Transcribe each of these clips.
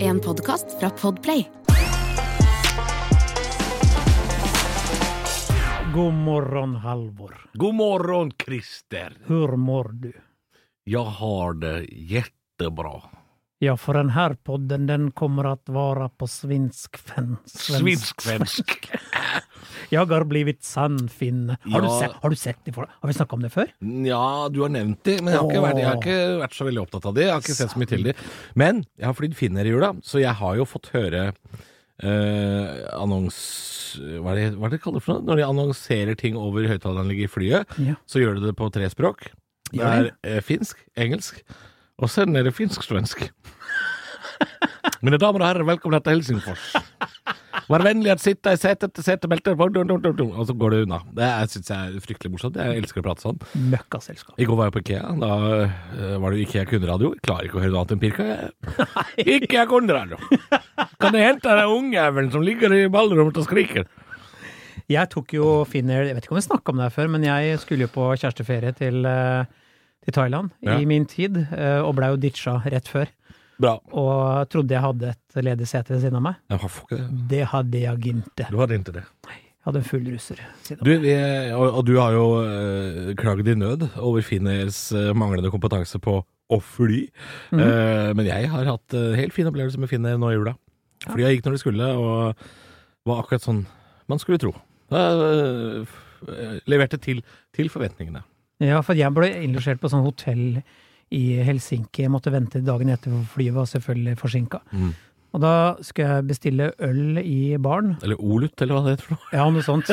en podkast fra Podplay. God morgon Halvor. God morgon Christer! Hur mår du? Jag har det jättebra. Ja, för den här podden den kommer att vara på svensk. fen- svensk- Svensk-svensk. Jag har blivit sann finne. Har, du Ja. sett, har du sett det? for- Har vi snakket om det før? Ja, du har nevnt det, men jeg har, ikke vært, jeg har ikke vært så veldig opptatt av det. Jeg har ikke sett så mye til det. Men jeg har flydd Finner i jula, så jeg har jo fått høre eh, annons... Hva er, det, hva er det de kaller det for noe? Når de annonserer ting over høyttaleranlegget i flyet, Ja. så gjør de det på tre språk. Det Gjør er de? eh, finsk, engelsk, og så er det finsk-svensk. Mine damer og herrer, velkommen til Helsingfors. Vær vennlig at sitte i setet til setebeltet, og så går det unna. Det syns jeg er fryktelig morsomt. Jeg elsker å prate sånn. Møkkaselskap. I går var jeg på Ikea. Da eh, var det jo Ikea kunderadio. Jeg Klarer ikke å høre noe annet enn pirka. jeg. Ikea kunderadio. Kan du hente den ungjævelen som ligger i ballrommet og skriker? Jeg tok jo Finnair, jeg vet ikke om vi snakket om det her før, men jeg skulle jo på kjæresteferie til, eh, til Thailand Ja. i min tid, eh, og blei jo ditcha rett før. Bra. Og trodde jeg hadde et ledig sete ved siden av meg. Jeg har fuck det. Det hadde jeg ikke. Du hadde ikke det. Jeg hadde en full russer. siden av Du, vi, og, og du har jo eh, klagd i nød over Finnairs eh, manglende kompetanse på å fly. Eh, men jeg har hatt eh, helt fin opplevelse med Finnair nå i jula. Flya gikk når det skulle, og var akkurat sånn man skulle tro. Eh, f- eh, leverte til, til forventningene. Ja, for jeg ble innlosjert på sånn hotell i Helsinki. Jeg måtte vente dagen etter, for flyet var selvfølgelig forsinka. Mm. Og da skulle jeg bestille øl i baren. Eller Olut, eller hva det heter for noe. Ja, noe sånt.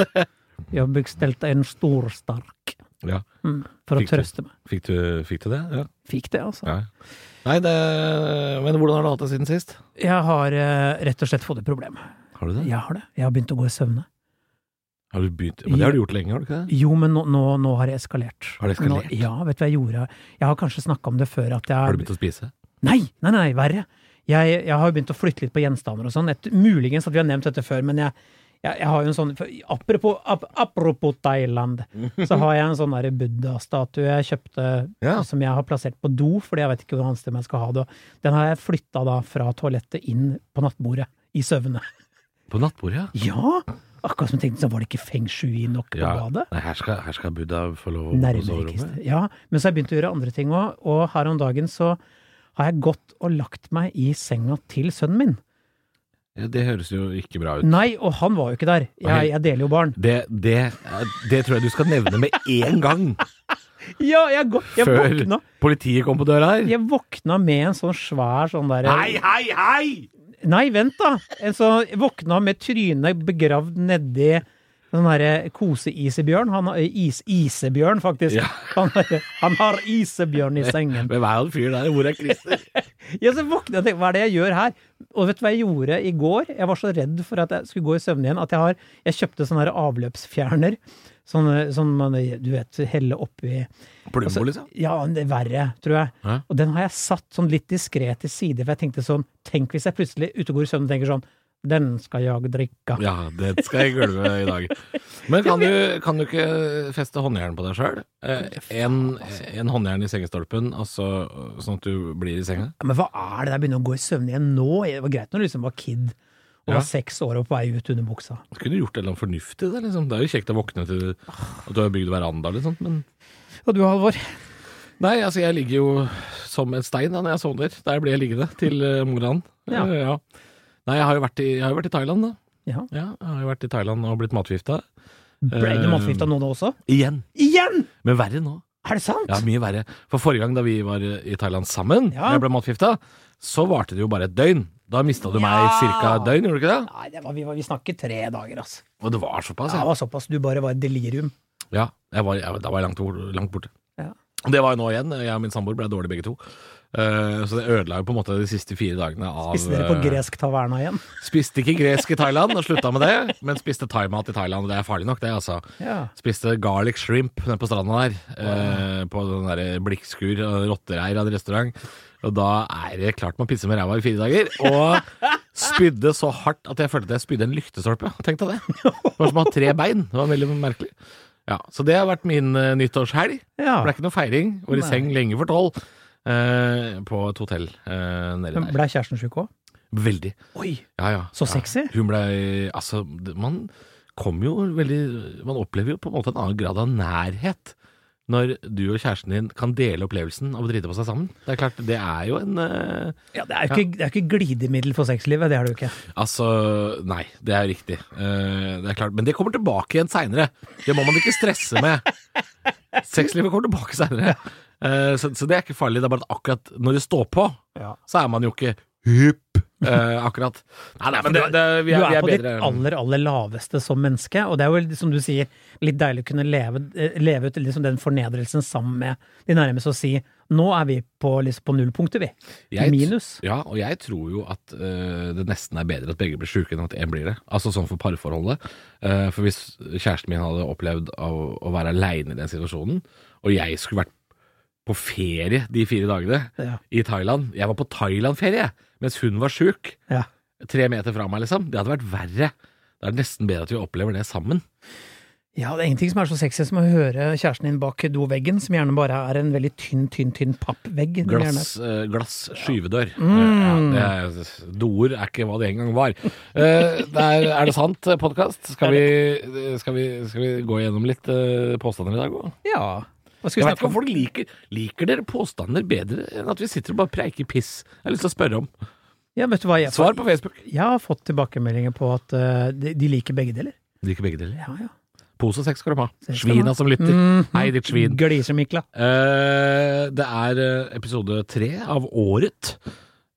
Jeg bestilte en storstark Ja. mm, for å Fikk du? trøste meg. Fikk, du, fikk du det? Ja. Fikk det, altså. ja. Nei, det, men hvordan har du hatt det siden sist? Jeg har eh, rett og slett fått et problem. Har du det? Jeg har det. Jeg har begynt å gå i søvne. Har du begynt? Men det har du gjort lenge, har du ikke det? Jo, men nå, nå, nå har det eskalert. Har det eskalert? Nå, ja, vet du hva jeg gjorde? Jeg har kanskje snakka om det før, at jeg Har du begynt å spise? Nei, nei, nei, verre. Jeg, jeg har jo begynt å flytte litt på gjenstander og sånn. Et- Muligens at vi har nevnt dette før, men jeg, jeg, jeg har jo en sånn for- Apropos, ap, apropos Thailand, så har jeg en sånn der buddha-statue jeg kjøpte Ja. som jeg har plassert på do, fordi jeg vet ikke hvor annet sted jeg skal ha det. Den har jeg flytta da fra toalettet inn på nattbordet i søvne. På nattbordet, ja. Ja! Akkurat som jeg tenkte, så var det ikke feng shui nok på badet. Nei, her skal, her skal Buddha få lov å bo på Nærmere, soverommet. Christer. Ja, men så har jeg begynt å gjøre andre ting òg, og her om dagen så har jeg gått og lagt meg i senga til sønnen min. Ja, det høres jo ikke bra ut. Nei, og han var jo ikke der. Jeg, jeg deler jo barn. Det, det, det tror jeg du skal nevne med én gang Ja, jeg, gå- jeg før våkna politiet kom på døra her. Jeg våkna med en sånn svær sånn derre Hei, hei, hei! Nei, vent, da! En sånn, jeg våkna med trynet begravd nedi sånn derre koseisebjørn. Han har eh, is, isebjørn, faktisk. Ja. Han, har- eh, han har isebjørn i sengen. Hvem er han fyren der? Hvor er Christer? Ja, så våkna jeg og tenkte, hva er det jeg gjør her? Og vet du hva jeg gjorde i går? Jeg var så redd for at jeg skulle gå i søvne igjen, at jeg har, jeg kjøpte sånne her avløpsfjerner, sånne, sånn man, du vet, helle oppi, Altså, Plumbo, liksom? ja, det er verre, tror jeg. Hæ? Og den har jeg satt sånn litt diskret til side, for jeg tenkte sånn, tenk hvis jeg plutselig ute og går i søvne og tenker sånn, den skal jeg drikke. Ja, det skal jeg gulve i dag. Men kan du, kan du ikke feste håndjern på deg sjøl? En, altså. en håndjern i sengestolpen, altså sånn at du blir i senga? Ja, Men hva er det der begynner å gå i søvne igjen nå? Det var greit når du liksom var kid, og Ja. var seks år og på vei ut under buksa. Kunne du gjort noe fornuftig der, liksom? Det er jo kjekt å våkne til at du har bygd veranda eller sånt, men Og du, Halvor? Nei, altså jeg ligger jo som en stein da når jeg sovner. Der blir jeg liggende til uh, morgenen. Ja. Eh, ja. Nei, jeg har jo vært i, jeg har jo vært i Thailand, da. Ja. Ja, jeg har jo vært i Thailand og blitt matforgifta. Ble du matforgiftet nå da også? Igjen. Igjen! Men verre nå. Er det sant? Ja, mye verre. For forrige gang da vi var eh, i Thailand sammen, Ja. jeg ble matforgifta, så varte det jo bare et døgn. Da mista du Ja. meg ca. et døgn, gjorde du ikke det? Nei, det var, vi, var, vi snakket tre dager, altså. Og det var såpass, Det ja. var såpass. Du bare var i delirium. ja jeg var, jeg, da var jeg langt, bort- langt borte. Ja. Det var jo nå igjen. Jeg og min samboer ble dårlige begge to. Eh, så det ødela jo på en måte de siste fire dagene av Spiste dere på eh, gresk taverna igjen? Spiste ikke gresk i Thailand og slutta med det, men spiste thaimat i Thailand. og Det er farlig nok, det, altså. Ja. Spiste garlic shrimp nede på stranda der. Eh, på den der blikkskur og rottereir av en restaurant. Og da er det klart man pisser med ræva i fire dager. Og spydde så hardt at jeg følte at jeg spydde en lyktestolpe. Tenk deg det. Det var som å ha tre bein. Det var veldig merkelig. Ja, Så det har vært min eh, nyttårshelg. Ja. Det ble ikke noe feiring. Var i Nei. seng lenge for tolv. Eh, på et hotell eh, nede Men der. Ble kjæresten sjuk òg? Veldig. Oi! Ja, ja. Så Ja. sexy. Hun blei Altså, det- man kommer jo veldig Man opplever jo på en måte en annen grad av nærhet når du og kjæresten din kan dele opplevelsen av å drite på seg sammen. Det er klart, det er jo en eh, Ja, det er jo ikke, det er jo ikke glidemiddel for sexlivet, det er det jo ikke. Altså, nei, det er riktig. Eh, det er klart. Men det kommer tilbake igjen seinere. Det må man ikke stresse med. Sexlivet kommer tilbake seinere. så, så det er ikke farlig. Det er bare at akkurat når det står på, Ja. så er man jo ikke hypp eh, akkurat. Nei, nei, men det, det, vi du er, er, vi er på bedre. ditt aller, aller laveste som menneske, og det er jo, som du sier, litt deilig å kunne leve, eh, leve ut liksom den fornedrelsen sammen med de nærmeste og si nå er vi på, liksom, på nullpunktet, vi. Jeg- Minus. Ja, og jeg tror jo at øh, det nesten er bedre at begge blir sjuke enn at én blir det. Altså sånn for parforholdet. Eh, for hvis kjæresten min hadde opplevd av å være aleine i den situasjonen, og jeg skulle vært på ferie de fire dagene Ja. i Thailand Jeg var på Thailand-ferie mens hun var sjuk, Ja. tre meter fra meg, liksom. Det hadde vært verre. Det er nesten bedre at vi opplever det sammen. ja, det er ingenting som er så sexy som å høre kjæresten din bak doveggen, som gjerne bare er en veldig tynn, tynn, tynn pappvegg. Det er gjerne- Glass, eh, glass skyvedør. Mm. Eh, Ja, det er, doer er ikke hva det en gang var. Eh, det er, er det sant, podkast? Skal, vi- eh, skal, vi- skal vi gå gjennom litt eh, påstander i dag òg? Ja. Hva skal vi Jeg vet ikke snakke om om? folk liker Liker dere påstander bedre enn at vi sitter og bare preiker piss? Jeg har lyst til å spørre om. Ja, vet du hva jeg, Svar på Facebook. jeg har fått tilbakemeldinger på at eh, de, de liker begge deler. Liker begge deler. Ja, ja. Pose og sex skal de ha. Sex skal de ha. Mm. Svina som lytter. Hei, ditt svin. Gliser, Mikla. Eh, det er eh, episode tre av året,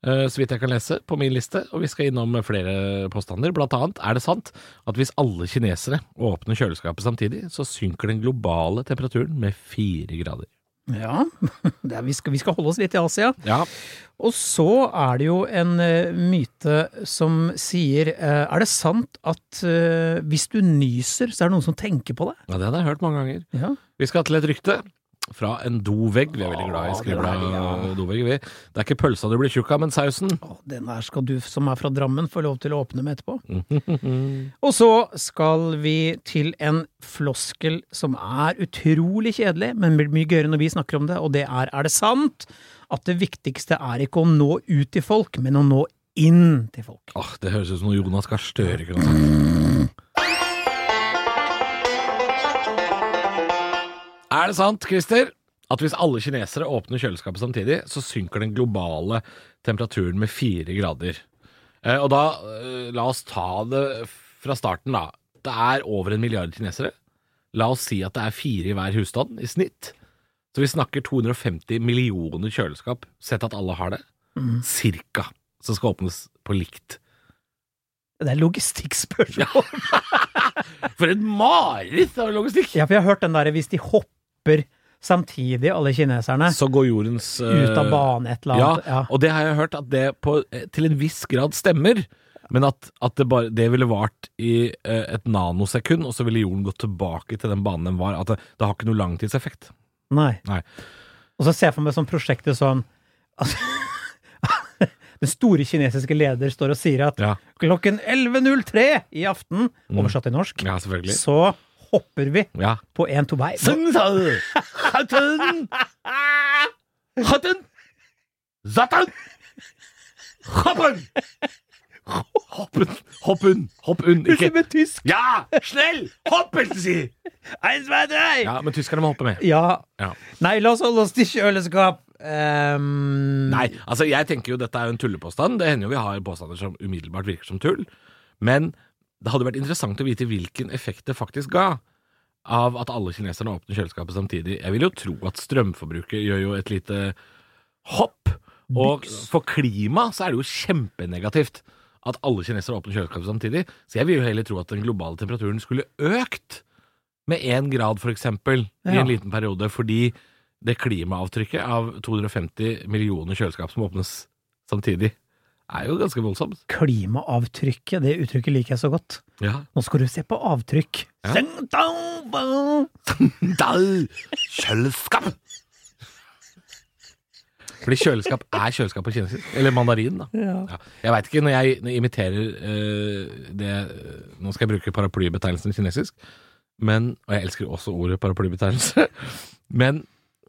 eh, så vidt jeg kan lese, på min liste. Og vi skal innom flere påstander. Blant annet er det sant at hvis alle kinesere åpner kjøleskapet samtidig, så synker den globale temperaturen med fire grader. Ja, det er, vi, skal, vi skal holde oss litt i Asia. Ja, Og så er det jo en eh, myte som sier eh, Er det sant at eh, hvis du nyser, så er det noen som tenker på deg? ja det hadde jeg hørt mange ganger. Ja. Vi skal til et rykte. Fra en dovegg. Vi er veldig glad i Åh, det skribla er det, dovegg. vi. Det er ikke pølsa du blir tjukk av, men sausen. Å, den her skal du som er fra Drammen få lov til å åpne med etterpå. Og så skal vi til en floskel som er utrolig kjedelig, men blir mye gøyere når vi snakker om det, og det er er det sant at det viktigste er ikke å nå ut til folk, men å nå inn til folk. Åh, Ah, det høres ut som noe Jonas Gahr Støre kunne sagt. Er det sant, Christer, at hvis alle kinesere åpner kjøleskapet samtidig, så synker den globale temperaturen med fire grader? Eh, og da, eh, la oss ta det fra starten, da. Det er over en milliard kinesere. La oss si at det er fire i hver husstand i snitt. Så vi snakker 250 millioner kjøleskap, sett at alle har det. Cirka. Som skal åpnes på likt. Det er logistikkspørsmål. For et mareritt av logistikk! Ja, for jeg har hørt den derre hvis de hopper samtidig, alle kineserne, Så går jordens eh, ut av bane et eller Ja, annet. Ja. og det har jeg hørt at det på, eh, til en viss grad stemmer. Men at, at det, bare, det ville vart i eh, et nanosekund, og så ville jorden gått tilbake til den banen den var. At det, det har ikke noe langtidseffekt. Nei. Nei. Og så ser jeg for meg sånn prosjektet sånn altså, Den store kinesiske leder står og sier at Ja, Mm. klokken 11.03 i aften, oversatt til norsk, ja selvfølgelig. så hopper vi Ja. på en to vei. Hatten! Hatten! Zatan! Hoppen! Hoppen! Hoppen! Hoppen! Plutselig med tysk! Ja! Schnell! Hoppen, si! Ein, zwei, drei! Ja. Ja, men tyskerne må hoppe med. Ja. Nei, la oss holde oss til kjøleskap. Ehm, Nei, altså jeg tenker jo dette er jo en tullepåstand. Det hender jo vi har påstander som umiddelbart virker som tull. Men det hadde vært interessant å vite hvilken effekt det faktisk ga av at alle kineserne åpner kjøleskapet samtidig. Jeg vil jo tro at strømforbruket gjør jo et lite hopp. Og for klima så er det jo kjempenegativt at alle kinesere åpner kjøleskapet samtidig. Så jeg vil jo heller tro at den globale temperaturen skulle økt med én grad, for eksempel, i Ja. en liten periode, fordi det klimaavtrykket av 250 millioner kjøleskap som åpnes samtidig, er jo ganske voldsomt. Klimaavtrykket, det uttrykket liker jeg så godt. Ja. Nå skal du se på avtrykk. Ja. Seng, dang, bang. Kjøleskap! Fordi kjøleskap er kjøleskap på kinesisk. Eller mandarin, da. Ja. Jeg veit ikke, når jeg, når jeg imiterer eh, det Nå skal jeg bruke paraplybetegnelsen kinesisk, men, og jeg elsker også ordet paraplybetegnelse, men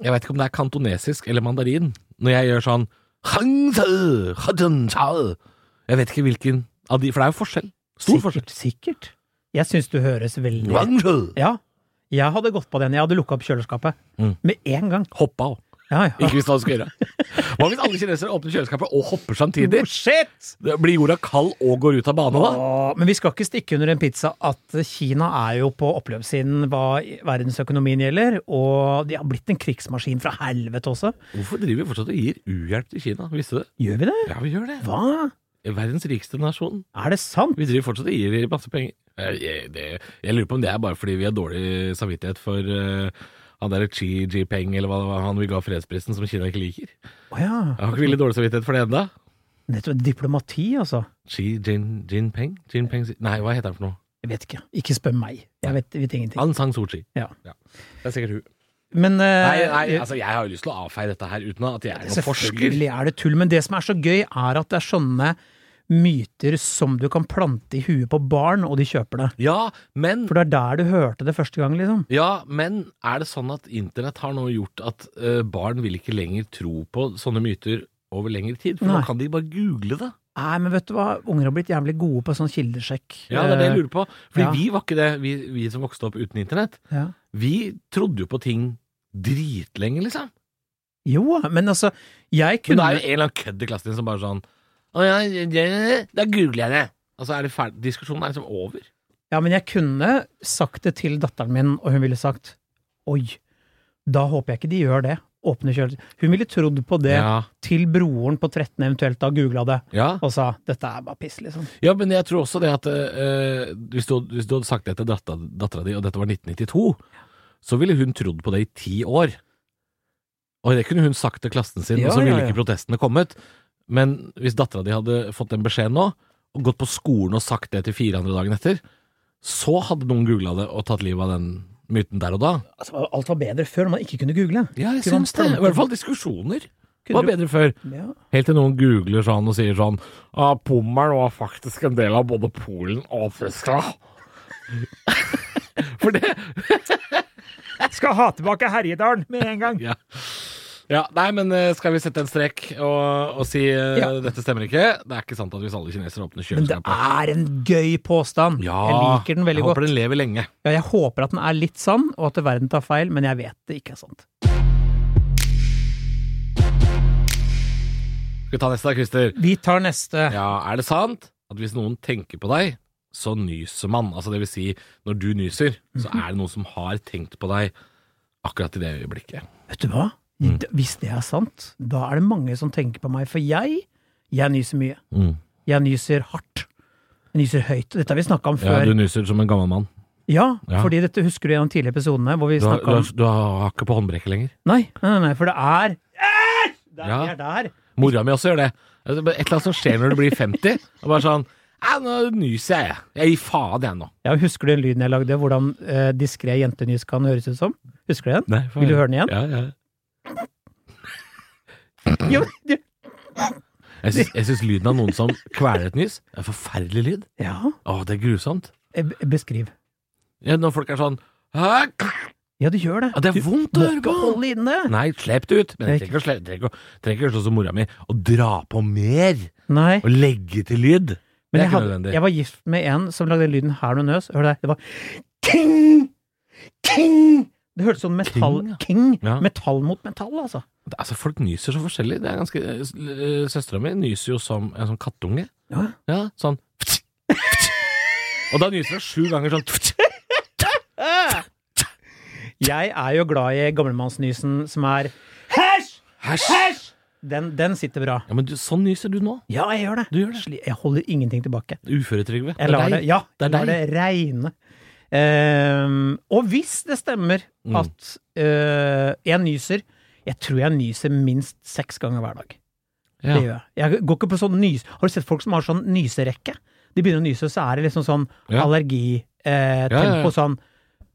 jeg veit ikke om det er kantonesisk eller mandarin. Når jeg gjør sånn «Hang-tse, ha-dun-tsa», Jeg vet ikke hvilken av de For det er jo forskjell. Stor forskjell. Sikkert. sikkert. Jeg syns du høres veldig Rangel! Ja. Jeg hadde gått på den. Jeg hadde lukka opp kjøleskapet. Mm. Med en gang. Hoppa òg. Ja, ja. Ikke visst hva du skal gjøre. Hva hvis alle kinesere åpner kjøleskapet og hopper samtidig? Oh, Shit! Det Blir jorda kald og går ut av bane da? Åh, men vi skal ikke stikke under en pizza at Kina er jo på oppløpssiden hva verdensøkonomien gjelder, og de har blitt en krigsmaskin fra helvete også. Hvorfor driver vi fortsatt og gir uhjelp til Kina? Visste du det? Gjør vi det? Ja, vi gjør det. Hva? Verdens rikeste nasjon. Er det sant? Vi driver fortsatt og gir dem masse penger. Jeg, jeg, det, jeg lurer på om det er bare fordi vi har dårlig samvittighet for eh, han derre Xi Jinping, eller hva det var, han vi ga fredsprisen, som Kina ikke liker. Å ja. Jeg har ikke veldig dårlig samvittighet for det enda. Nettopp diplomati, altså. Xi Jin, Jinping? Jinping? Nei, hva heter han for noe? Jeg vet ikke. Ikke spør meg. Jeg vet, vet ingenting. Aung San Suu Kyi. Ja. Det er sikkert hun. Men eh, Nei, nei, altså jeg har jo lyst til å avfeie dette her uten at jeg er noen forsker. Selvfølgelig er det tull, men det som er så gøy, er at det er sånne myter som du kan plante i huet på barn, og de kjøper det. Ja, men For det er der du hørte det første gang, liksom. Ja, men er det sånn at internett har nå gjort at eh, barn vil ikke lenger tro på sånne myter over lengre tid? For Nei. nå kan de bare google det. Nei, men vet du hva, unger har blitt jævlig gode på sånn kildesjekk. Ja, det er det jeg lurer på. Fordi Ja. vi var ikke det, vi, vi som vokste opp uten internett. Ja. Vi trodde jo på ting dritlenge, liksom. Jo, men altså, jeg Men det kunne er jo en eller annen kødd i klassen din som bare sånn Å ja, ja, ja, ja, da googler jeg det. Altså er det ferdig, diskusjonen er liksom over. Ja, men jeg kunne sagt det til datteren min, og hun ville sagt oi, da håper jeg ikke de gjør det. Åpne kjøleskapet. Hun ville trodd på det Ja. til broren på 13 eventuelt da googla det, ja. og sa dette er bare piss, liksom. Ja, men jeg tror også det at eh, hvis, du, hvis du hadde sagt det til dattera, dattera di, og dette var 1992, så ville hun trodd på det i ti år. Og det kunne hun sagt til klassen sin, Ja, og så ville ja, ja. ikke protestene kommet. Men hvis dattera di hadde fått den beskjeden nå, og gått på skolen og sagt det til fire andre dagen etter, så hadde noen googla det og tatt livet av den myten der og da. Altså, alt var bedre før, når man ikke kunne google. Ja, jeg Kunne syns det. man I hvert fall diskusjoner Kunne var du- bedre før. Ja. Helt til noen googler sånn og sier sånn ah, Pommeren var faktisk en del av både Polen og Tyskland. For det Skal ha tilbake Herjedalen med en gang! ja. ja. Nei, men eh, skal vi sette en strek og, og si eh, Ja. dette stemmer ikke? Det er ikke sant at hvis alle kinesere Men åpner det kjøleskapet er en gøy påstand. Ja, Jeg liker den veldig jeg godt. håper den lever lenge. Ja, jeg håper at den er litt sann, og at verden tar feil, men jeg vet det ikke er sant. Skal vi ta neste da, Christer? Vi tar neste. Ja, er det sant at hvis noen tenker på deg, så nyser man? Altså det vil si, når du nyser, så er det noen som har tenkt på deg akkurat i det øyeblikket. Vet du hva? Mm. D- Hvis det er sant, da er det mange som tenker på meg. For jeg, jeg nyser mye. Mm. Jeg nyser hardt. Jeg nyser høyt. Dette har vi snakka om Ja, før. du nyser som en gammel mann. Ja, Ja. fordi dette husker du gjennom tidligere episodene hvor vi Du har, du snakka om har, du har ikke på håndbrekket lenger. nei, nei, nei, nei, for det er Æsj! Der, Ja. Vi er der. Mora mi også gjør det. Altså, bare Et eller annet som skjer når du blir 50. Og bare sånn Æ, nå nyser jeg, jeg. Jeg gir faen, jeg, nå. Ja, husker du den lyden jeg lagde? Hvordan eh, diskré jentenys kan høres ut som? Husker du den? Vil du høre den igjen? Ja, ja. Ja, men du- Jeg syns- Jeg syns lyden av noen som kveler et nys, er en forferdelig lyd. ja. Å, det er grusomt. eh, b- Beskriv. Ja, når folk er sånn Hæ? Ja, du gjør det. Ja, Det er vondt å Må høre ikke på! holde inne. Nei, slipp det ut. Men jeg trenger ikke å slippe- trenger ikke å- trenger ikke å gjøre sånn som mora mi og dra på mer Nei. og legge til lyd. Det Men er jeg, ikke hadde, nødvendig. jeg var gift med en som lagde den lyden her når hun nøs. Hør der. Det var king! King! Det hørtes sånn metall King, ja. King! Ja. Metall mot metall, altså. Altså, folk nyser så forskjellig. Det er ganske øh, Søstera mi nyser jo som en sånn kattunge. Ja. sånn Og da nyser hun sju ganger sånn Jeg er jo glad i gamlemannsnysen som er Hæsj! Hæsj! Den, den sitter bra. Ja, men du, sånn nyser du nå. Ja, jeg gjør det. Du gjør det. Sli- Jeg holder ingenting tilbake. Uføretrygve. Jeg lar det, deg. ja, Det er jeg lar det deg. regne. Ehm, og hvis det stemmer Mm. at eh, jeg nyser Jeg tror jeg nyser minst seks ganger hver dag. Det Ja. gjør jeg. Jeg går ikke på sånn nys... Har du sett folk som har sånn nyserekke? De begynner å nyse, så er det liksom sånn Ja. allergitempo eh, Ja, ja, ja. tempo, sånn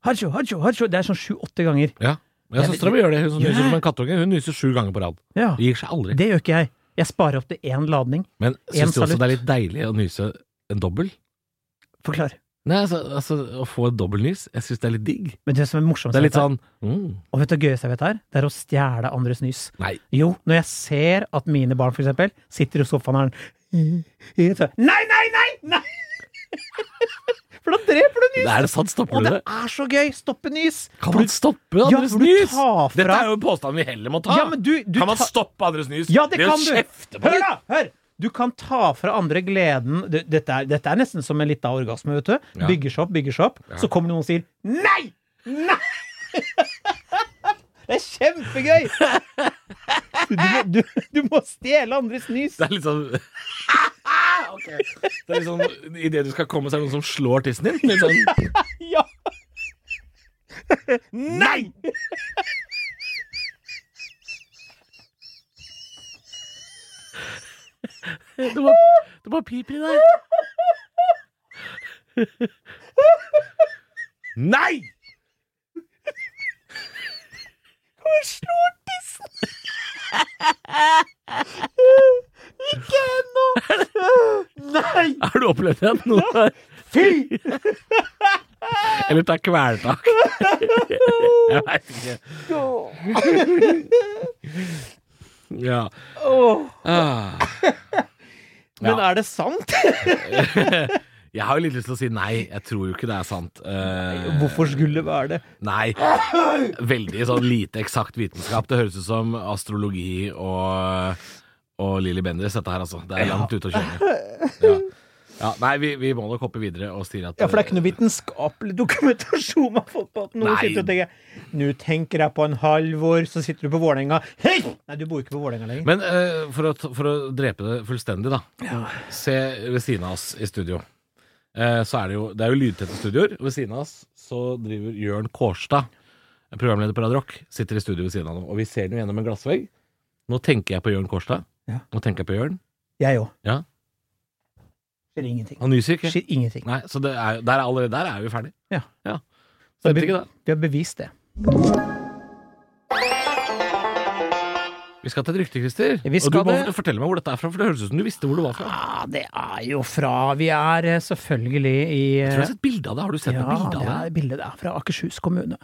hatsjo, hatsjo, hatsjo. Det er sånn sju-åtte ganger. ja. ja Søstera mi gjør det. Hun som Ja. nyser som en kattunge, hun nyser sju ganger på rad. Ja, Det gir seg aldri. Det gjør ikke jeg. Jeg sparer opp til én ladning. Men En syns du også salutt. det er litt deilig å nyse en dobbel? Forklar. Nei, altså, altså å få et dobbeltnys. Jeg syns det er litt digg. Men det som er morsomt, Det er litt sånn mm. og vet du hva gøyeste jeg vet her? Det er å stjele andres nys. Nei. Jo, når jeg ser at mine barn for eksempel sitter i sofaen og er i et hø- Nei, nei, nei! nei! For da dreper du nys! Er det sant? Stopper Og du det det? er så gøy! Stoppe nys! Kan man stoppe Ja, andres for du nys? tar fra- Dette er jo en påstand vi heller må ta. Ja, men du, du kan man ta- stoppe andres nys Ja, det ved kan å du! kjefte på Hør, dem? da! Hør! Du kan ta fra andre gleden Du, Dette er, dette er nesten som en lita orgasme, vet du. Ja. Bygger seg opp, bygger seg opp. Så kommer det noen og sier 'nei!' Nei! Det er kjempegøy! Du må, du, du må stjele andres nys. Det er litt sånn Det er litt sånn Idet du skal komme, så er det noen som slår tissen din. Litt sånn, Ja! Nei! det, var, det var pip i deg. Nei! Hvor slår tissen? Ikke ennå! Nei! Har du opplevd det? Noen har- Fy! Eller ta kvelertak. Jeg veit ikke. Ja. Åh. Ah. Men Ja. er det sant? Jeg har jo litt lyst til å si nei. Jeg tror jo ikke det er sant. Eh, Hvorfor skulle det være det? Nei. Veldig sånn lite eksakt vitenskap. Det høres ut som astrologi og, og Lilly Bendriss, dette her, altså. Det er langt ute å kjøre. Ja. Ja, nei, vi, vi må nok hoppe videre og si at Ja, For det er ikke noe vitenskapelig dokumentasjon man har fått på at noen Nei. sitter og tenker Nå tenker jeg på en halvor, så sitter du på Vålerenga Hei! Nei, du bor ikke på Vålerenga lenger. Men eh, for, å, t- for å drepe det fullstendig, da. Se ved siden av oss i studio. Eh, så er det jo Det er jo lydtette studioer. Ved siden av oss så driver Jørn Kårstad, programleder på Radio Rock, sitter i studio ved siden av ham. Og vi ser den jo gjennom en glassvegg. Nå tenker jeg på Jørn Kårstad. Ja. Nå tenker jeg på Jørn. Jeg òg. Ja. Skjer ingenting. Han nyser ikke. Skjer ingenting. Nei, så det er, der, er allerede, der er vi ferdig. Ja. Så jeg vet ikke, da. Vi har bevist det. Vi skal til et rykte, Christer. Vi Og du skal må det. fortelle meg hvor dette er fra, for det høres ut som du visste hvor det var fra. Ja, det er jo fra Vi er eh, selvfølgelig i eh, Jeg tror jeg har sett bilde av det. Har du sett Ja, noe bilde det av det? er bildet det er fra Akershus kommune.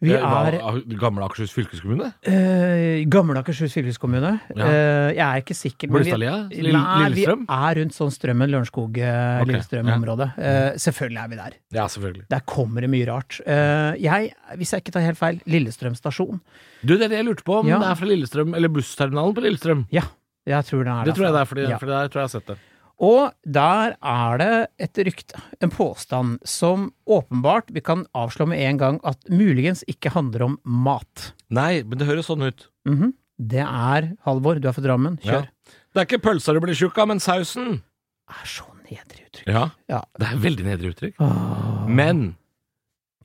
Vi Eh, hva, er av Gamle Akershus fylkeskommune? eh, Gamle Akershus fylkeskommune. Ja. Eh, jeg er ikke sikker. men vi- Blystadlia? Lill- Nei, vi Lillestrøm? er rundt sånn Strømmen, Lørenskog, eh, Ok, Lillestrøm-området. Eh, selvfølgelig er vi der. Ja, selvfølgelig. Der kommer det mye rart. Eh, jeg, hvis jeg ikke tar helt feil, Lillestrøm stasjon. Du, det er det jeg lurte på, om Ja. det er fra Lillestrøm, eller bussterminalen på Lillestrøm. Ja, jeg tror den er Det tror jeg det derfra. er, fordi, Ja. for der tror jeg jeg har sett det. Og der er det et rykte, en påstand, som åpenbart vi kan avslå med en gang at muligens ikke handler om mat. Nei, men det høres sånn ut. Mhm. Det er Halvor, du er fra Drammen. Kjør. Det er ikke pølsa du blir tjukk av, men sausen. Er så nedre uttrykk. Ja. Ja. Det er veldig nedre uttrykk. Åh. Men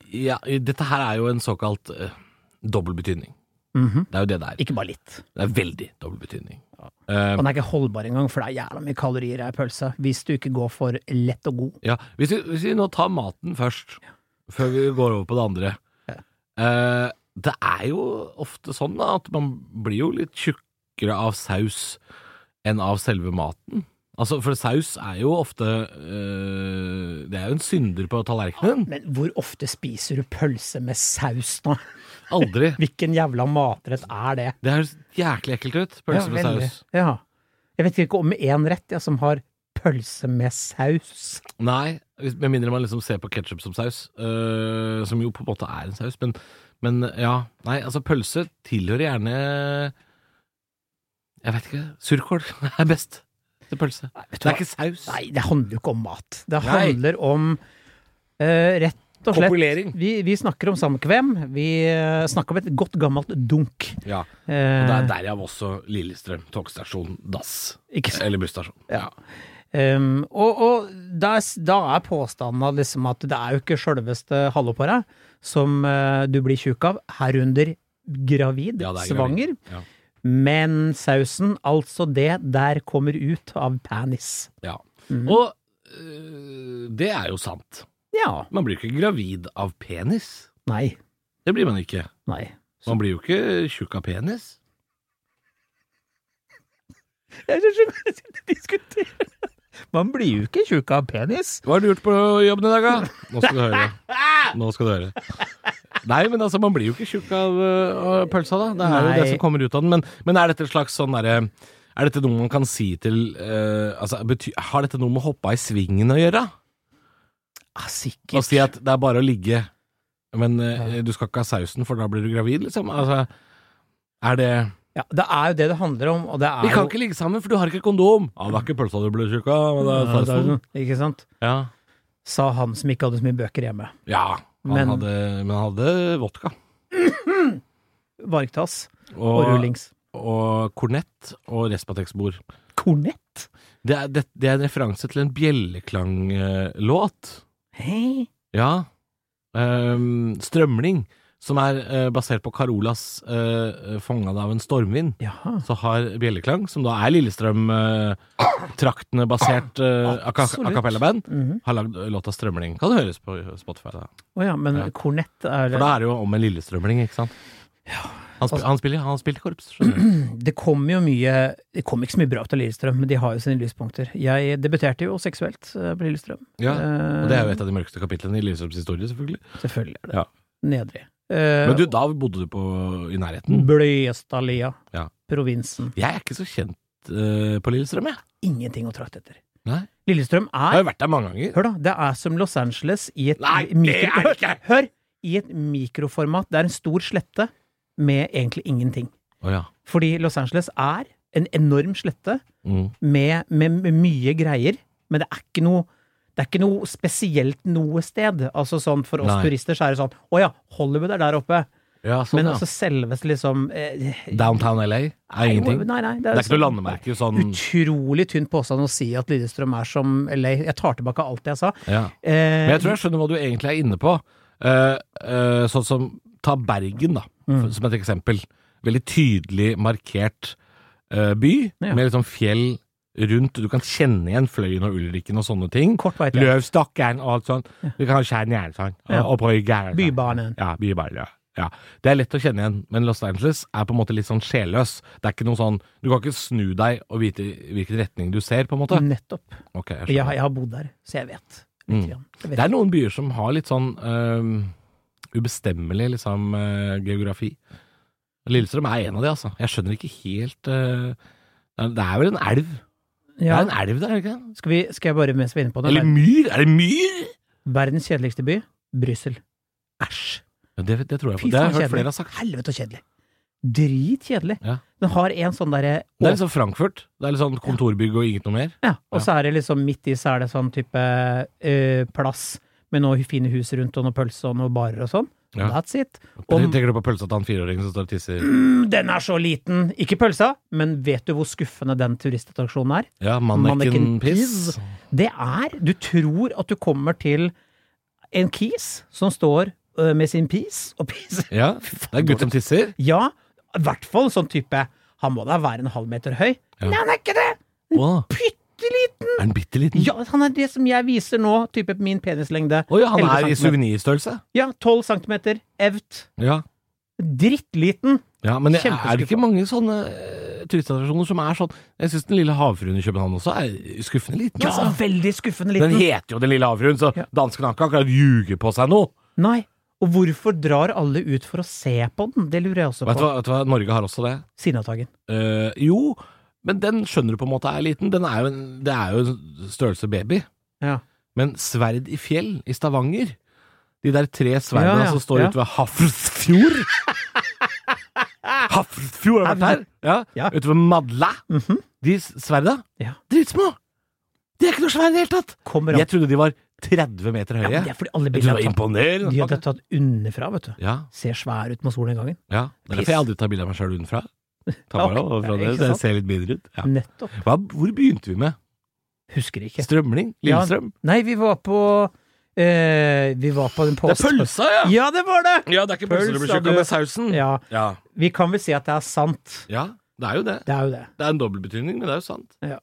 ja, dette her er jo en såkalt eh, dobbel betydning. Mhm. Det er jo det det er. Ikke bare litt. Det er veldig dobbel betydning. Og Eh, den er ikke holdbar engang, for det er jævla mye kalorier i ei pølse hvis du ikke går for lett og god. ja, hvis, vi, hvis vi nå tar maten først, før vi går over på det andre Eh, Det er jo ofte sånn da, at man blir jo litt tjukkere av saus enn av selve maten. Altså, For saus er jo ofte eh, Det er jo en synder på tallerkenen. Men hvor ofte spiser du pølse med saus nå? Aldri. Hvilken jævla matrett er det? Det høres jæklig ekkelt ut. Pølse med Ja, veldig. saus. Ja. Jeg vet ikke om én rett jeg, som har pølse med saus. Nei, hvis- med mindre man liksom ser på ketsjup som saus, øh, som jo på en måte er en saus, men, men ja. Nei, altså pølse tilhører gjerne Jeg vet ikke. Surkål er best til pølse. Nei, Det er ikke saus. Nei, det handler jo ikke om mat. Det Nei. handler om eh, rett og slett Kopulering. vi, vi snakker om samkvem. Vi eh, snakker om et godt gammelt dunk. Ja. Eh, Og det er derav også Lillestrøm togstasjon, dass. ikke sant? Eller busstasjon. Ja. Um, og og da, er s- da er påstanden at liksom at det er jo ikke sjølveste halve på deg som eh, du blir tjukk av, herunder gravid, Ja, det er svanger. gravid. Ja. Men sausen, altså det der kommer ut av penis. ja. Mhm. Og øh, det er jo sant. Ja. Man blir jo ikke gravid av penis. Nei. Det blir man ikke. Nei. Man blir jo ikke tjukk av penis. Jeg er så god til å diskutere. Man blir jo ikke tjukk av penis. Hva har du gjort på jobben i dag, da? Nå skal du høre. Nå skal du høre. Nei, men altså, man blir jo ikke tjukk av, øh, av pølsa, da. Det er jo Nei. det som kommer ut av den. Men, men er dette et slags sånn derre Er dette noe man kan si til eh, altså, bety Har dette noe med å hoppe av i svingen å gjøre? Ah, Å sikkert. si at det er bare å ligge, men eh, du skal ikke ha sausen, for da blir du gravid, liksom? Altså, er det Ja, det er jo det det handler om, og det er Vi kan jo ikke ligge sammen, for du har ikke kondom! Ja, det er ikke pølsa du ble tjukk av, men det er Ja, det er sausen. jo- Ikke sant? Ja. Sa han som ikke hadde så mye bøker hjemme. ja han Men- hadde, men han hadde vodka. Vargtass og Og, rullings. og kornett og Respatex-bord. Kornett? Det er, det, det er en referanse til en bjelleklanglåt. Hei. Ja. Ehm, strømning, som er eh, basert på Carolas uh, 'Fongad av en stormvind'. Jaha. Så har Bjelleklang, som da er Lillestrøm-traktene basert uh, a Absolutt. cappella-band, Mhm. har lagd låta 'Strømling'. Kan høres på Spotify. da Å ja, men Ja. kornett er For da er det jo om en lillestrømling, ikke sant? Han, spil, han, spiller, han spilte korps, skjønner du. Det kommer jo mye Det kommer ikke så mye bra ut av Lillestrøm, men de har jo sine lyspunkter. Jeg debuterte jo seksuelt eh, på Lillestrøm. Ja. Eh, Og det er jo et av de mørkeste kapitlene i Lillestrøms historie, selvfølgelig. Selvfølgelig er det Ja. Nedrig. Eh, Men du, da bodde du på, i nærheten. Bløyestalia. Ja. Provinsen. Jeg er ikke så kjent eh, på Lillestrøm, jeg. Ingenting å trakte etter. Nei. Lillestrøm Jeg er har jo vært der mange ganger. Hør, da. Det er som Los Angeles i et Nei, det er det ikke! Hør, hør! I et mikroformat. Det er en stor slette med egentlig ingenting. Å ja. Fordi Los Angeles er en enorm slette Mm. med, med, med mye greier, men det er ikke noe det er ikke noe spesielt noe sted. Altså sånn For oss Nei. turister så er det sånn Å ja, Hollywood er der oppe. ja sånn, men ja. altså selveste liksom eh, Downtown LA er ingenting. Nei, nei, Det er ikke sånn- noe landemerke sånn Utrolig tynn påstand å si at Lillestrøm er som LA. Jeg tar tilbake alt jeg sa. ja. Eh, Men jeg tror jeg skjønner hva du egentlig er inne på. Eh, eh, sånn som ta Bergen, da, Mm. for, som et eksempel. Veldig tydelig markert eh, by, Ja. med liksom fjell rundt. Du kan kjenne igjen Fløyen og Ulriken og sånne ting. Kort vei til Løvstakkeren og alt sånt. Du kan kjenne igjen sånn. Ja. Og på Jæren. Bybanen. Ja, bybanen, ja. Ja, Det er lett å kjenne igjen, men Los Angeles er på en måte litt sånn sjelløs. Det er ikke noe sånn Du kan ikke snu deg og vite hvilken retning du ser, på en måte. Nettopp. Ok, jeg Mm. Jeg, skjønner. har- jeg har bodd der, så jeg vet. Mm. Litt grann. Jeg vet. Det er noen byer som har litt sånn øhm, ubestemmelig liksom, øh, geografi. Lillestrøm er en av de, altså. Jeg skjønner ikke helt øh, Det er vel en elv? Det Ja. er en elv der, er det ikke det? Skal, vi, skal jeg bare mens vi er inne på det Eller ver- myr? Er det myr? Verdens kjedeligste by? Brussel. Æsj. Ja, det, det tror jeg Fy på. Det har faen, jeg hørt flere kjedelig. har sagt. Helvete så kjedelig. Dritkjedelig. Ja. Den har en sånn derre Det er liksom Frankfurt. Det er litt sånn kontorbygg og inget noe mer. Ja, og Ja. så er det liksom midt i så er det sånn type eh, plass med noen fine hus rundt og noen pølse og noen barer og sånn. Ja. That's it. Om- Tenker du på pølsa til han fireåringen som står og tisser? Mm, Den er så liten! Ikke pølsa, men vet du hvor skuffende den turistattraksjonen er? Ja, Manneken mannekenpiss. Det er Du tror at du kommer til en kis som står ø, med sin pis og piser. Ja, det er en gutt som tisser. Ja, i hvert fall sånn type Han må da være en halv meter høy. Ja. Nei, han er ikke det! Å, Bitte liten! er han bitte liten? Å ja. Ja, han er det som jeg viser nå, type min penislengde. han 11 er centimeter. i suvenirstørrelse. Ja, 12 centimeter. Evt. Ja. Drittliten. Ja, men jeg, er Kjempeskuffa. det ikke mange sånne eh, turistattraksjoner som er sånn Jeg syns Den lille havfruen i København også er skuffende liten. Ja, altså. veldig skuffende Den liten. heter jo Den lille havfruen, så Ja. danskene har ikke akkurat ljuge på seg noe. Nei. Og hvorfor drar alle ut for å se på den? Det lurer jeg også Vet du, på. hva, vet du hva, Norge har også det. Sinnataggen. Eh, jo, men den skjønner du på en måte er liten. Den er jo en, det er jo en størrelse baby. Ja. Men Sverd i fjell i Stavanger De der tre sverdene Ja, ja, som står ja. ute ved Hafrsfjord Hafrsfjord har vært her! Ja, Ja. Ute ved Madla. Mhm. De s- sverda? Ja. Dritsmå! De er ikke noe svære i det hele tatt! Kommer Jeg opp. trodde de var 30 meter Ja, høye. men det er fordi alle jeg trodde det bildene var er tatt, imponerende. de hadde tatt underfra, vet du. Ja, Ser svær ut mot solen den gangen. ja. Det er Piss. derfor jeg aldri tar bilde av meg sjøl utenfra. Ta Ok, bare overfra det er det, ikke så jeg sant. Mm. ser litt bedre ut. Ja. Nettopp. Hva, hvor begynte vi med? Husker ikke. Strømling? Ja, Lillestrøm? Nei, vi var på eh, Vi var på den det er påstanden pølsa, ja! Ja, det var det! Ja, det er ikke pølsa du blir Pølsa, tjukk av du. med sausen. Ja, Ja. vi kan vel si at det er sant. ja, det er jo det. Det er jo det. Det er en dobbeltbetydning, men det er jo sant. Ja.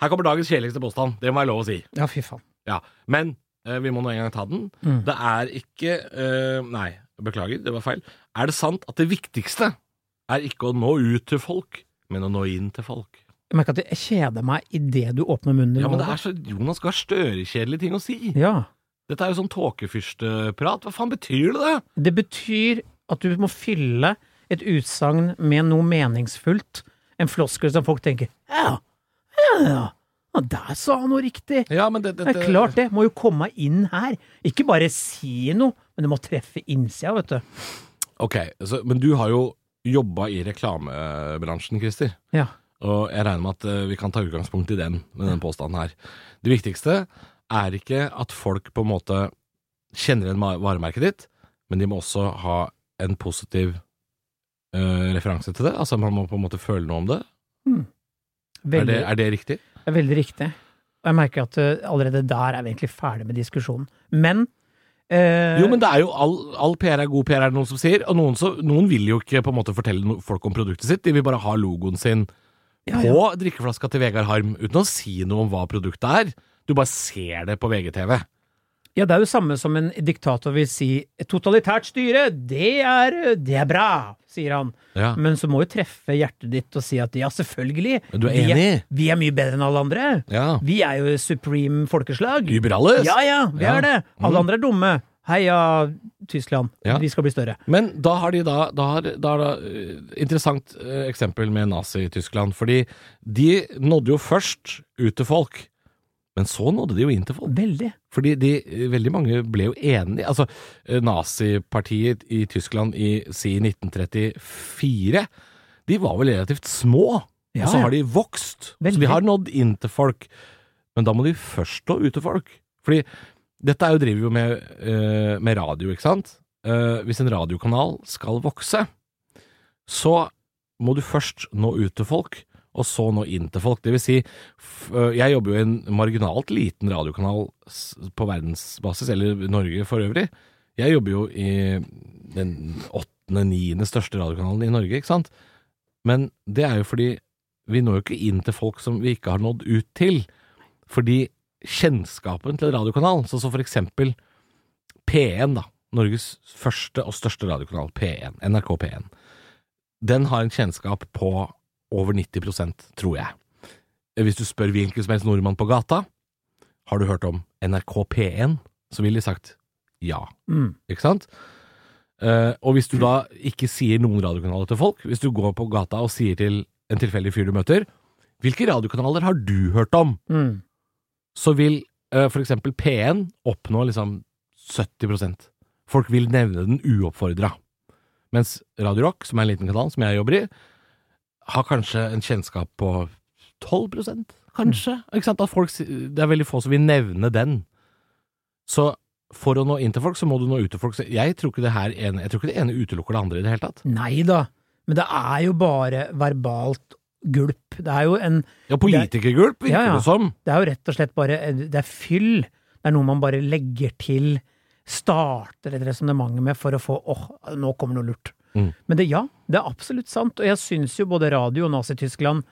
Her kommer dagens kjedeligste påstand, det må jeg lov å si. Ja, fy faen. Ja, Men eh, vi må nå en gang ta den. Mm. Det er ikke eh, Nei, beklager, det var feil. Er det sant at det viktigste er ikke å nå ut til folk, men å nå inn til folk? Jeg merker at jeg kjeder meg idet du åpner munnen. Ja, men det er så Jonas Gahr Støre-kjedelige ting å si. ja. Dette er jo sånn tåkefyrsteprat. Hva faen betyr det? Det betyr at du må fylle et utsagn med noe meningsfullt. En floskel som folk tenker ja, ja, ja, ja, der sa han noe riktig. Ja, men det, det, Det er klart det, må jo komme inn her. Ikke bare si noe, men det må treffe innsida, vet du. Ok, så, men du har jo jobba i reklamebransjen, Christer. Ja. Og jeg regner med at eh, vi kan ta utgangspunkt i den, med den påstanden her. Det viktigste er ikke at folk på en måte kjenner igjen ma- varemerket ditt, men de må også ha en positiv eh, referanse til det. Altså man må på en måte føle noe om det. Er Veldig, det, er det riktig? det er veldig riktig. Og jeg merker at eh, allerede der er vi egentlig ferdig med diskusjonen. Men eh, Jo, men det er jo all, all PR er god PR, er det noen som sier. Og noen, så, noen vil jo ikke på en måte fortelle no folk om produktet sitt, de vil bare ha logoen sin Ja, på drikkeflaska til Vegard Harm, uten å si noe om hva produktet er. Du bare ser det på VGTV. Ja, det er jo samme som en diktator vil si. Et totalitært styre, det er, det er bra, sier han. Ja. Men så må jo treffe hjertet ditt og si at ja, selvfølgelig. Men du er vi, enig? vi er mye bedre enn alle andre. Ja. Vi er jo supreme folkeslag. Überalles! Ja ja, vi Ja. Mm. er det. Alle andre er dumme. Heia Tyskland. Ja. Vi skal bli større. Men da har de da, da, har, da er det eh, Interessant eh, eksempel med Nazi-Tyskland. Fordi de nådde jo først ut til folk, men så nådde de jo inn til folk. Veldig. Fordi de, eh, veldig mange ble jo enige. Altså, eh, nazipartiet i Tyskland i si 1934, de var vel relativt små. Ja, og så ja. har de vokst. Veldig. Så de har nådd inn til folk. Men da må de først nå ut til folk. Fordi dette er jo, driver vi jo med, eh, med radio, ikke sant? Eh, hvis en radiokanal skal vokse, så må du først nå ut til folk, og så nå inn til folk. Det vil si, f øh, jeg jobber jo i en marginalt liten radiokanal s- på verdensbasis, eller Norge for øvrig. Jeg jobber jo i den åttende, niende største radiokanalen i Norge, ikke sant? Men det er jo fordi vi når jo ikke inn til folk som vi ikke har nådd ut til. Fordi kjennskapen til en radiokanal, sånn som for eksempel P1, da. Norges første og største radiokanal, P1, NRK P1 den har en kjennskap på over 90 tror jeg. Hvis du spør hvilken som helst nordmann på gata, har du hørt om NRK P1, så ville de sagt ja, Mm. ikke sant? Eh, og hvis du da ikke sier noen radiokanaler til folk, hvis du går på gata og sier til en tilfeldig fyr du møter, hvilke radiokanaler har du hørt om? Mm. så vil eh, for eksempel P1 oppnå liksom 70 Folk vil nevne den uoppfordra. Mens Radio Rock, som er en liten kanal som jeg jobber i, har kanskje en kjennskap på 12 kanskje? Ikke sant? At folk, si- det er veldig få som vil nevne den. Så for å nå inn til folk, så må du nå ut til folk. Så jeg tror ikke det her ene, jeg tror ikke det ene utelukker det andre i det hele tatt. Nei da. Men det er jo bare verbalt gulp. Det er jo en Ja, politikergulp virker Ja, ja. det som. Det er jo rett og slett bare Det er fyll. Det er noe man bare legger til, starter et resonnement med for å få åh, nå kommer noe lurt. Mm. Men det, ja, det er absolutt sant. Og jeg syns jo både radio og Nazi-Tyskland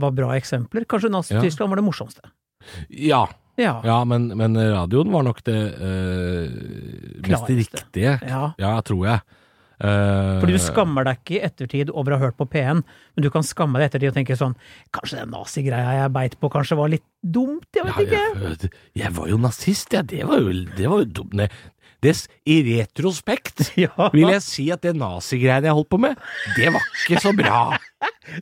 var bra eksempler. Kanskje Nazi-Tyskland var det morsomste. Ja. Ja. ja men, men radioen var nok det eh, mest Klareste. riktige. ja. Ja, tror jeg. Eh, Fordi du skammer deg ikke i ettertid over å ha hørt på P1, men du kan skamme deg i ettertid og tenke sånn Kanskje den nazigreia jeg beit på, kanskje var litt dumt? Jeg ja, vet ikke. jeg, jeg var jo nazist, jeg. Det var jo, det var jo dumt. Nei, Det, s- I retrospekt Ja. vil jeg si at det nazigreiene jeg holdt på med, det var ikke så bra.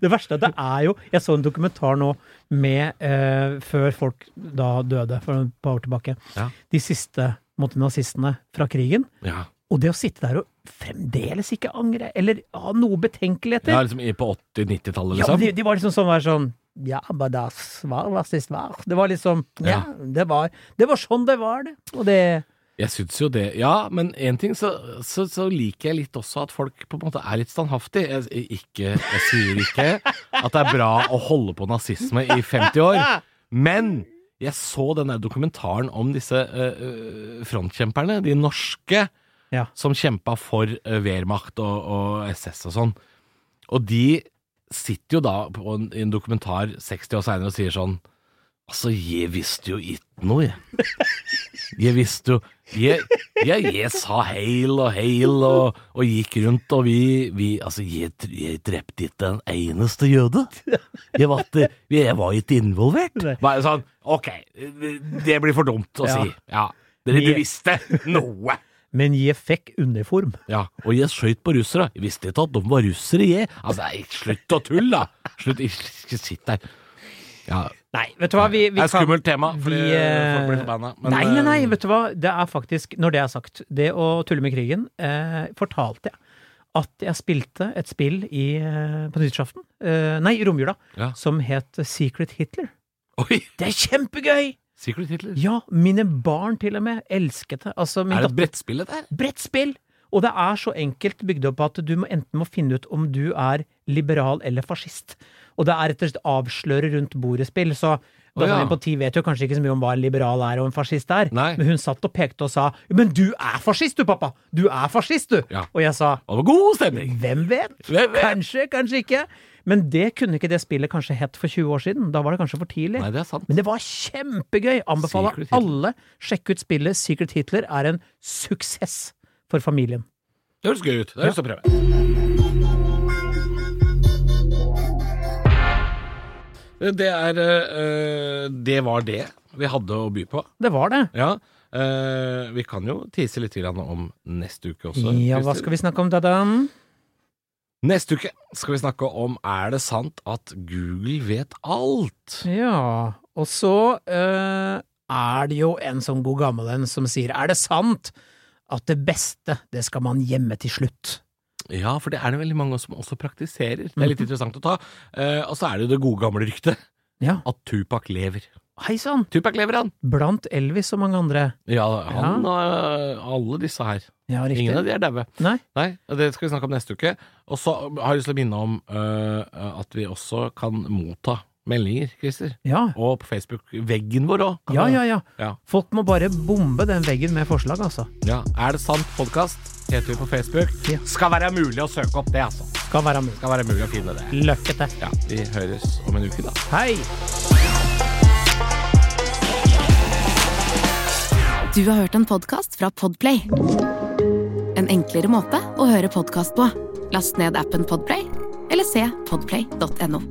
Det verste er at det er jo Jeg så en dokumentar nå med eh, Før folk da døde for et par år tilbake. Ja. De siste mot nazistene fra krigen. Ja, Og det å sitte der og fremdeles ikke angre, eller ha noe betenkeligheter ja ja, liksom i- På men 80-90-tallet, liksom. de, de var liksom sånn, var sånn Ja, men das var nazist var. Det var liksom Ja, Ja. det var Det var sånn det var, det. Og det Jeg syns jo det. Ja, men én ting så, så, så liker jeg litt også at folk på en måte er litt standhaftig. Jeg, ikke, jeg sier ikke at det er bra å holde på nazisme i 50 år, men jeg så den der dokumentaren om disse eh, eh, frontkjemperne, de norske, Ja. som kjempa for eh, Wehrmacht og, og SS og sånn. Og de sitter jo da på en, i en dokumentar 60 år seinere og sier sånn Altså, jeg visste jo ikke noe, jeg. Jeg visste jo Jeg, jeg, jeg sa heil og heil og, og gikk rundt, og vi, vi Altså, jeg, tr- jeg drepte ikke en eneste jøde. Jeg var ikke, jeg var ikke involvert. Nei. Bare sånn Ok, det blir for dumt å Ja. si. Ja. Dere, du Vi- visste noe. men jeg fikk uniform. Ja, og jeg skøyt på russere. Jeg visste ikke at de var russere, jeg. Altså, nei, slutt å tulle, da! Slutt, ikke sitt der. Ja, Nei, vet du hva, vi, vi det er et kan- skummelt tema, fordi vi, eh, folk blir forbanna. men, nei, nei, nei, eh, vet du hva. Det er faktisk, når det er sagt, det å tulle med krigen, eh, fortalte jeg at jeg spilte et spill i, eh, på nyttårsaften, eh, nei, i romjula, Ja. som het Secret Hitler. eh, Oi! Det er kjempegøy! Secret Hitler. Ja, mine barn til og med elsket det. Altså, min Er det datter- et brettspill, dette her? brettspill! Og det er så enkelt bygd opp at du må enten må finne ut om du er liberal eller fascist. Og det er rett og slett avsløre rundt bordet-spill, så Å, ja. Datteren min på ti vet jo kanskje ikke så mye om hva en liberal er og en fascist er, Nei. men hun satt og pekte og sa 'Men du er fascist, du, pappa! Du er fascist, du!' Ja. Og jeg sa Og det var god stemning! Hvem vet? Hvem vet? Kanskje, kanskje ikke. Men det kunne ikke det spillet kanskje hett for 20 år siden. Da var det kanskje for tidlig. Nei, det er sant. Men det var kjempegøy! Anbefaler Secret Hitler. alle. Sjekk ut spillet Secret Hitler er en suksess for familien. Det høres gøy ut. Det har jeg lyst til å prøve. Det er eh, Det var det vi hadde å by på. Det var det. Ja. eh, vi kan jo tise litt grann om neste uke også. Ja, hva Kristin. skal vi snakke om, Dadan? Neste uke skal vi snakke om Er det sant at Google vet alt? Ja, og så eh, er det jo en sånn god gammel en som sier Er det sant at det beste, det skal man gjemme til slutt? Ja, for det er det veldig mange som også praktiserer. Det er Mhm. litt interessant å ta. Eh, og så er det jo det gode gamle ryktet Ja, at Tupac lever. hei sann! Tupac lever, han! Blant Elvis og mange andre. Ja, han og eh, alle disse her. Ja, riktig. Ingen av de er daue. Nei? Nei, det skal vi snakke om neste uke. Og så har jeg lyst til å minne om eh, at vi også kan motta meldinger, Christer. Ja. Og på Facebook-veggen vår òg. Ja, ja, ja. Ja. Folk må bare bombe den veggen med forslag, altså. ja. Er det sant podkast? Heter vi på Facebook. Ja. Skal være mulig å søke opp det, altså. Skal være mulig. Skal være mulig å finne det. Lykke til. Ja, Vi høres om en uke, da. Hei! Du har hørt en podcast fra Podplay En enklere måte å høre podcast på Last ned appen Podplay Eller se podplay.no